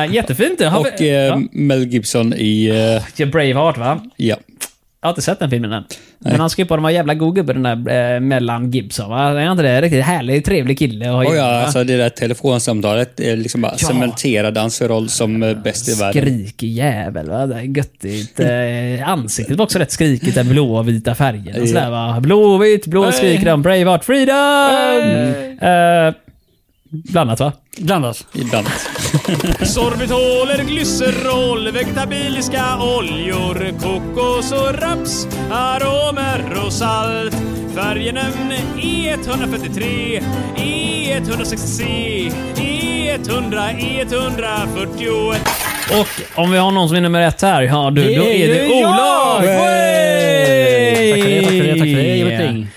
S2: Eh, jättefint du. Har vi-
S4: Och eh, Mel Gibson i... Eh,
S2: ja. Braveheart va?
S4: ja.
S2: Jag har inte sett den filmen än. Men han ska ju på de här jävla god gubbe, den där eh, mellan Gibson. Va? Är han inte det? Riktigt härlig, trevlig kille. Och
S4: Och ja, alltså det där telefonsamtalet eh, liksom bara cementerade hans roll som eh, bäst i världen.
S2: Skrikig jävel. Va? Det är göttigt. Eh, ansiktet var också rätt skrikigt, den blåa och vita färgen. Och sådär, va? Blåvitt, blå skriker de, Braveheart, Freedom! Eh, blandat va?
S1: Blandas.
S4: Ibland.
S6: Sorbitoler, glycerol, vegetabiliska oljor, kokos och raps, aromer och salt. E Färgenämn E143, E E160C, E100, E141.
S2: Och om vi har någon som är nummer ett här, ja du, då är det Olof!
S1: Tack för det, tack för det, tack för det. Ge mig ett
S2: Yeah.
S1: pling.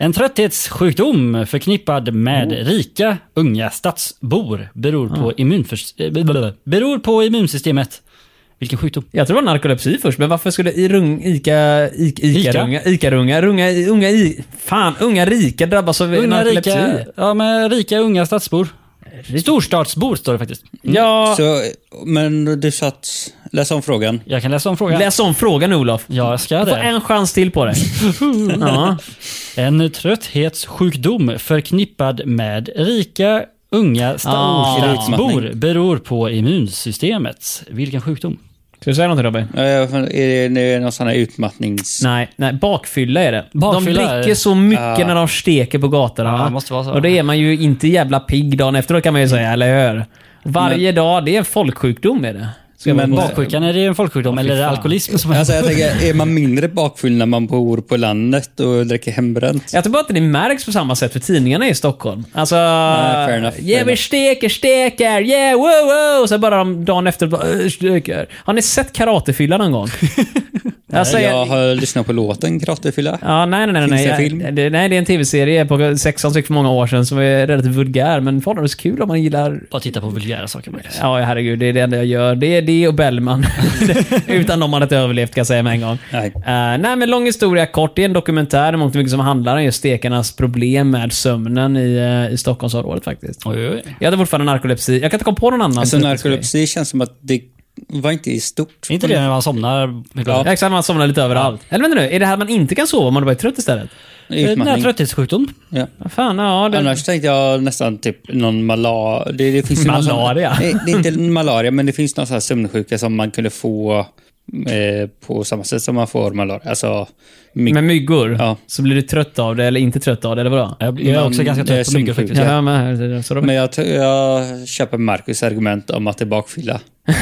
S1: En trötthetssjukdom förknippad med
S2: Mm.
S1: rika, unga stadsbor beror
S2: Ah.
S1: på, immunförs- eh, blablabla, beror på immunsystemet. Vilken sjukdom?
S2: Jag tror det var narkolepsi först, men varför skulle i rung, Ica... Ica, Ica,
S1: Ica?
S2: Runga, Ica runga, runga, unga i... Fan, unga rika drabbas av
S1: Unga,
S2: narkolepsi.
S1: rika, Mm. ja, men rika, unga stadsbor. Storstadsbor står det faktiskt.
S2: Ja,
S4: Så, men du satt... Läs om frågan.
S1: Jag kan läsa om frågan.
S2: läs om frågan Olof.
S1: Ja, jag ska
S2: Du får
S1: det.
S2: en chans till på det. ja.
S1: En trötthetssjukdom förknippad med rika, unga sta-
S2: Ah,
S1: stadsbor
S4: utmattning.
S1: beror på immunsystemet. Vilken sjukdom?
S2: Ska du säga något Robin?
S4: Eh, vad fan, Är det är någon sån här utmattnings...
S2: Nej, nej, bakfylla är det.
S1: Bakfylla
S2: de
S1: är
S2: dricker
S1: det.
S2: så mycket
S4: Ja.
S2: när de steker på gatorna.
S1: Ja,
S2: va?
S1: det måste vara så.
S2: Och det är man ju inte jävla pigg dagen efter kan man ju säga, eller hur? Varje dag, det är en folksjukdom är det. Ska
S4: Men
S2: man på-
S1: Baksjukan, är det en folksjukdom eller är det alkoholism som är
S4: Alltså jag tänker, är man mindre bakfull när man bor på landet och dricker hembränt?
S2: Jag tror bara inte det märks på samma sätt för tidningarna i Stockholm. Alltså...
S4: fair enough, fair
S2: yeah, vi
S4: enough."
S2: steker, steker, yeah, wow, wow! Så bara de dagen efter bara, "Äh, steker. Har ni sett Karatefylla någon gång? alltså,
S4: jag har lyssnat på låten Gratefylla.
S2: Ja, nej, nej, nej.
S4: Finns
S2: nej.
S4: det
S2: Jag-
S4: film?
S2: det, nej, det är en tv-serie på sexan som gick för många år sedan som är relativt vulgär, men förhållandevis kul om man gillar...
S1: Bara titta på vulgära saker Marcus.
S2: Ja, herregud, det är det enda jag gör. Det är det och Bellman. Utan dem hade jag inte överlevt, kan jag säga med en gång.
S4: Nej.
S2: Eh, nej, men lång historia kort. Det är en dokumentär i mångt och mycket som handlar om just stekarnas problem med sömnen i, eh, i Stockholmsområdet faktiskt.
S1: Oj, oj, oj.
S2: Jag hade fortfarande narkolepsi. Jag kan inte komma på någon annan.
S4: Alltså
S2: typ av
S4: narkolepsi känns som att det var inte i stort.
S1: Är inte det när man somnar?
S2: grej. Ja, exakt. Man somnar lite överallt. Eller vänta nu, är det här att man inte kan sova om man bara är trött istället?
S1: En
S4: Utmattning.
S1: trötthetssjukdom.
S4: Ja.
S2: Vad Fan, ja. Det...
S4: Annars tänkte jag nästan typ någon malaria. Det, det finns ju någon sån-
S2: Malaria?
S4: Nej, det är inte malaria, men det finns någon sån här sömnsjuka som man kunde få eh, på samma sätt som man får malaria. Alltså, mig-
S2: Med myggor?
S4: Ja.
S2: Så blir du trött av det eller inte trött av det, eller vadå?
S1: Jag jag är också
S4: Men,
S1: ganska
S4: eh,
S1: trött på myggor
S4: sömnsjuk.
S1: faktiskt.
S2: Ja, jag med. Så de...
S4: men jag, t- jag köper Marcus argument om att det är bakfylla.
S2: Nej,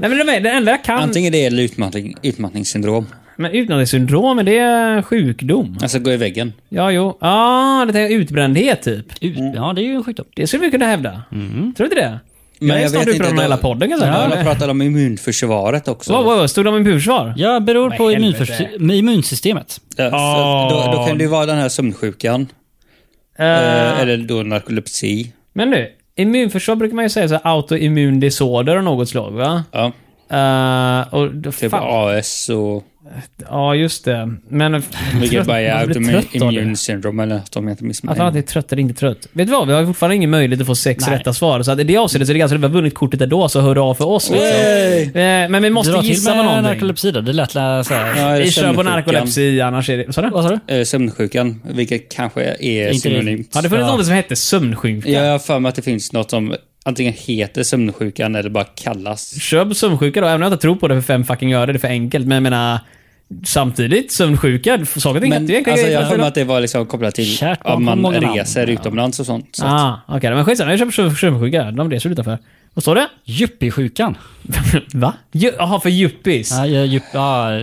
S2: men det, är- det enda jag kan...
S4: Antingen det eller utmattning, utmattningssyndrom.
S2: Men utmattningssyndrom, är det sjukdom?
S4: Alltså gå i väggen.
S2: Ja, jo. ah, det är utbrändhet typ.
S1: Ut, ja, det är ju en sjukdom.
S2: Det skulle vi kunna hävda. Tror du inte det?
S4: Men
S2: jag är
S4: jag
S2: snart
S4: vet
S2: utbränd
S4: inte,
S2: om hela
S4: då-
S2: podden kan jag säga.
S4: Ja,
S2: Eller?
S4: de pratar om immunförsvaret också.
S2: Wow, wow, wow. Stod de i bursvar?
S1: Ja, beror på
S2: helvete.
S1: immunförs- med immunsystemet.
S4: Ja, så då, då kan det ju vara den här sömnsjukan.
S2: Eh,
S4: Eh, eller då narkolepsi.
S2: Men nu, immunförsvar brukar man ju säga så här, autoimmun disorder av något slag, va?
S4: Ja,
S2: Eh, och, då-
S4: typ
S2: fan.
S4: AS och...
S2: Ja, just det. Men...
S4: Vilket
S2: trött-
S4: bara är
S2: man blir trött av det.
S4: autoimmune syndrome eller att de inte
S2: Att han
S4: missminner.
S2: alltid är trött eller inte trött. Vet du vad? Vi har ju fortfarande ingen möjlighet att få sex
S1: Nej.
S2: rätta svar. Så att i det avseendet så är det ganska vi har vunnit kortet ändå, så hurra för oss. Liksom. Eh, Men vi måste
S1: Dra till
S2: gissa på
S1: med
S2: någonting.
S1: narkolepsi då. Det lät la- så här.
S4: Ja,
S2: Vi kör på
S4: sömnsjukan.
S2: narkolepsi, annars är det... Vad sa du?
S1: Vad sa du?
S4: Eh, Sömnsjukan, vilket kanske är
S1: Inte
S4: synonymt.
S1: riktigt.
S2: Har det funnits
S1: Ja.
S2: något som hette sömnsjuka?
S4: Jag har för mig att det finns något som antingen heter sömnsjukan eller bara kallas.
S2: Kör på sömnsjuka då, även om jag inte tror på det för fem fucking öre, det är för enkelt. Men jag menar... Samtidigt, sömnsjuka, saker och ting
S4: Men
S2: hette ju egentligen-
S4: alltså, jag har för mig att det var liksom kopplat till
S1: Kärt barn
S4: att
S1: har
S4: man
S1: många namn.
S4: reser utomlands och sånt. Så.
S2: Ah, okej. Men skitsamma, jag köper sö- sömnsjuka. De reser utanför. Vad står det?
S1: Yuppiesjukan.
S2: Va? Ju- Jaha, för yuppis.
S1: Ja, ja, jupp- ja,
S4: Eh,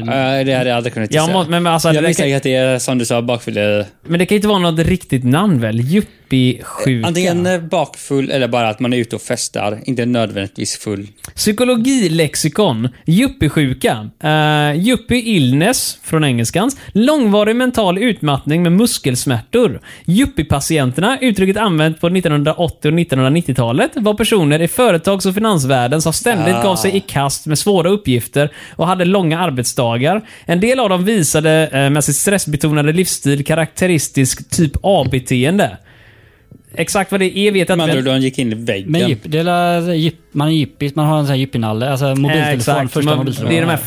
S4: det hade jag aldrig kunnat
S2: Ah. Jag
S4: gissa.
S2: må, men alltså,
S4: jag
S2: det kan,
S4: misstänker att det är som du sa, bakfylla.
S2: men det kan ju inte vara något riktigt namn väl? Yuppie-sjuka.
S4: Antingen eh, bakfull eller bara att man är ute och festar. Inte nödvändigtvis full.
S2: Psykologilexikon. Yuppie-sjuka. Uh, yuppie illness, från engelskans. Långvarig mental utmattning med muskelsmärtor. Yuppie-patienterna, uttrycket använt på 1980 och 1990-talet, var personer i företags och finansvärlden som ständigt gav
S4: Ah.
S2: sig i kast med svåra uppgifter och hade långa arbetsdagar. En del av dem visade eh, med sitt stressbetonade livsstil karaktäristisk typ A-beteende. Exakt vad det är vet jag inte.
S4: Med andra
S2: men-
S4: ord, de gick in i väggen.
S1: men jupp, det är la- jupp- man är juppis, man har en sån här yuppienalle. Alltså mobiltelefon,
S2: Exakt.
S1: första
S2: Man-
S1: mobiltelefonen.
S2: Det är de här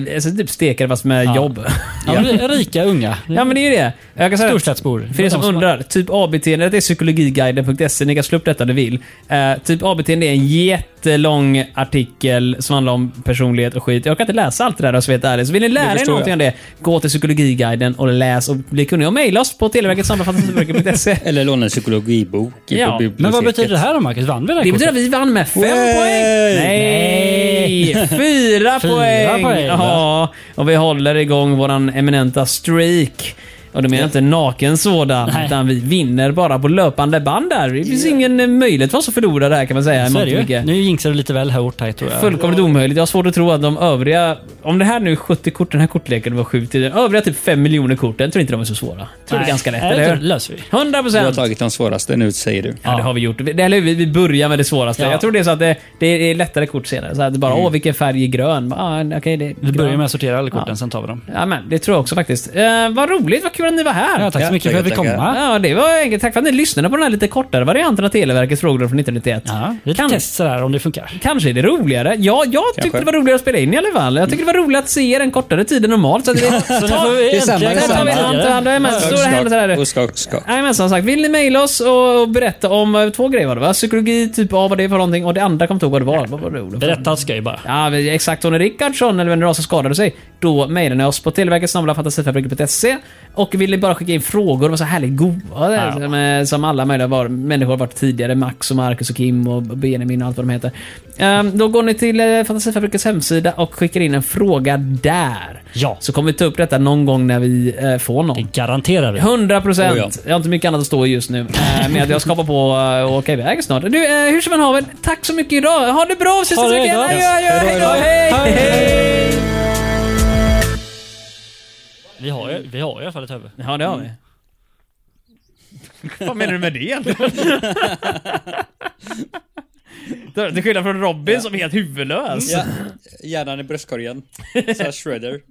S2: fräcka, alltså typ stekare fast med jobb.
S1: Ja, men det är rika unga.
S2: Ja men det är ju det. Jag kan säga
S1: Storstadsbor.
S2: För er som undrar, typ A-beteende det är psykologiguiden.se. E. Ni kan slå upp detta om ni vill. Eh, typ A-beteende är en jättelång artikel som handlar om personlighet och skit. Jag kan inte läsa allt det där om jag ska vara helt ärlig. Så vill ni lära er
S4: förstår
S2: någonting
S4: jag.
S2: om det, gå till psykologiguiden och läs och bli kunnig. Och mejla oss på televerketsammanfattningsböcker.se.
S4: Eller låna en psykologibok
S2: Ja, men
S4: på
S2: vad
S4: biblioteket.
S1: Men vad betyder det här då Marcus? Vann vi det här
S2: Det
S1: kortet?
S2: betyder att vi vann med fem
S4: Way!
S2: poäng. Nej! Fyra
S1: Fyra
S2: poäng.
S1: poäng, va?
S2: Ja, och vi håller igång våran eminenta streak. Och då menar jag inte naken sådan,
S1: Nej.
S2: utan vi vinner bara på löpande band där. Det finns ingen eh, möjlighet för oss att förlora det här kan man säga. i
S1: Så är
S2: mångt
S1: det
S2: och mycket.
S1: ju. Nu jinxar du lite väl hårt här tror jag.
S2: Fullkomligt omöjligt. Jag har svårt att tro att de övriga... Om det här nu är 70 kort, den här kortleken var 7 till... Övriga typ 5 miljoner korten tror inte de är så svåra. Tror det är
S1: Nej.
S2: ganska lätt,
S1: Nej,
S2: eller
S1: det
S2: hur?
S1: löser vi.
S2: 100
S4: Du har
S2: procent!
S4: tagit de svåraste nu, säger du.
S2: Ja, det har vi gjort. Vi- Eller hur? vi, vi börjar med det svåraste.
S1: Ja. Mm.
S2: Jag tror det är så att det, det är lättare kort senare. Så att det bara, åh vilken färg är grön? Bara, Ah, okej, det är
S1: Vi
S2: grön.
S1: börjar med att sortera alla korten,
S2: Ja.
S1: sen tar vi dem.
S2: Ja, men det tror jag också faktiskt. Eh, vad roligt, vad kul att ni var här!
S1: Ja, tack så mycket för
S4: tackar,
S1: att vi fick
S4: tackar.
S1: komma.
S2: Ja, det var enkelt. Tack för att ni lyssnade på den här lite kortare varianten av Televerkets frågor från 1991.
S1: Ja, lite
S2: Kan-
S1: test sådär om det funkar.
S2: Kanske är det roligare. Ja, jag tyckte det
S4: Kanske.
S2: var roligare att spela in i alla fall. Jag tycker det var roligt att se er en kortare tid än normalt. Så att vi,
S1: Så nu får vi
S4: det är samma,
S1: äntligen
S4: det
S2: där
S4: är
S2: tar vi hand till hand. Jajamän,
S1: Ja,
S2: Stora händer sådär.
S4: Och skak, skak.
S2: Nej men som sagt, vill ni mejla oss och berätta om eh, två grejer var det va? Psykologi, typ A vad det är för någonting och det andra kommer inte ihåg vad det var. Vad var det Olof?
S1: Berätta allt skoj bara.
S2: Ja, men exakt. Tony Rickardsson, eller vem det var som skadade sig, då mejlar ni oss på televerket fantasifabriken.se. Och vill ni bara skicka in frågor, de var så härligt goa där,
S1: Ja.
S2: som, eh, som alla möjliga var, människor har varit tidigare. Max och Marcus och Kim och Benjamin och allt vad de heter. Ehm, då går ni till eh, Fantasifabrikens hemsida och skickar in en fråga där.
S1: Ja.
S2: Så kommer vi ta upp detta någon gång när vi eh, får någon.
S1: Det garanterar vi.
S2: 100 procent.
S4: Oh ja.
S2: Jag har inte mycket annat att stå i just nu. Eh, Men att jag skapar på eh, och åka iväg snart. Du, eh, hur som än haver, tack så mycket idag. Ha det bra, ses
S1: Ha
S2: nästa
S1: det
S2: vecka.
S1: gott.
S2: Adjö, adjö,
S4: Hej då,
S2: hej då,
S1: hej
S2: hej!
S1: då.
S2: hej.
S1: Vi har, ju- vi har i alla fall ett huvud.
S2: Ja, det har vi. Vad menar du med det egentligen? Till skillnad från Robin som är helt huvudlös.
S4: Ja, hjärnan i bröstkorgen. Så här Shredder.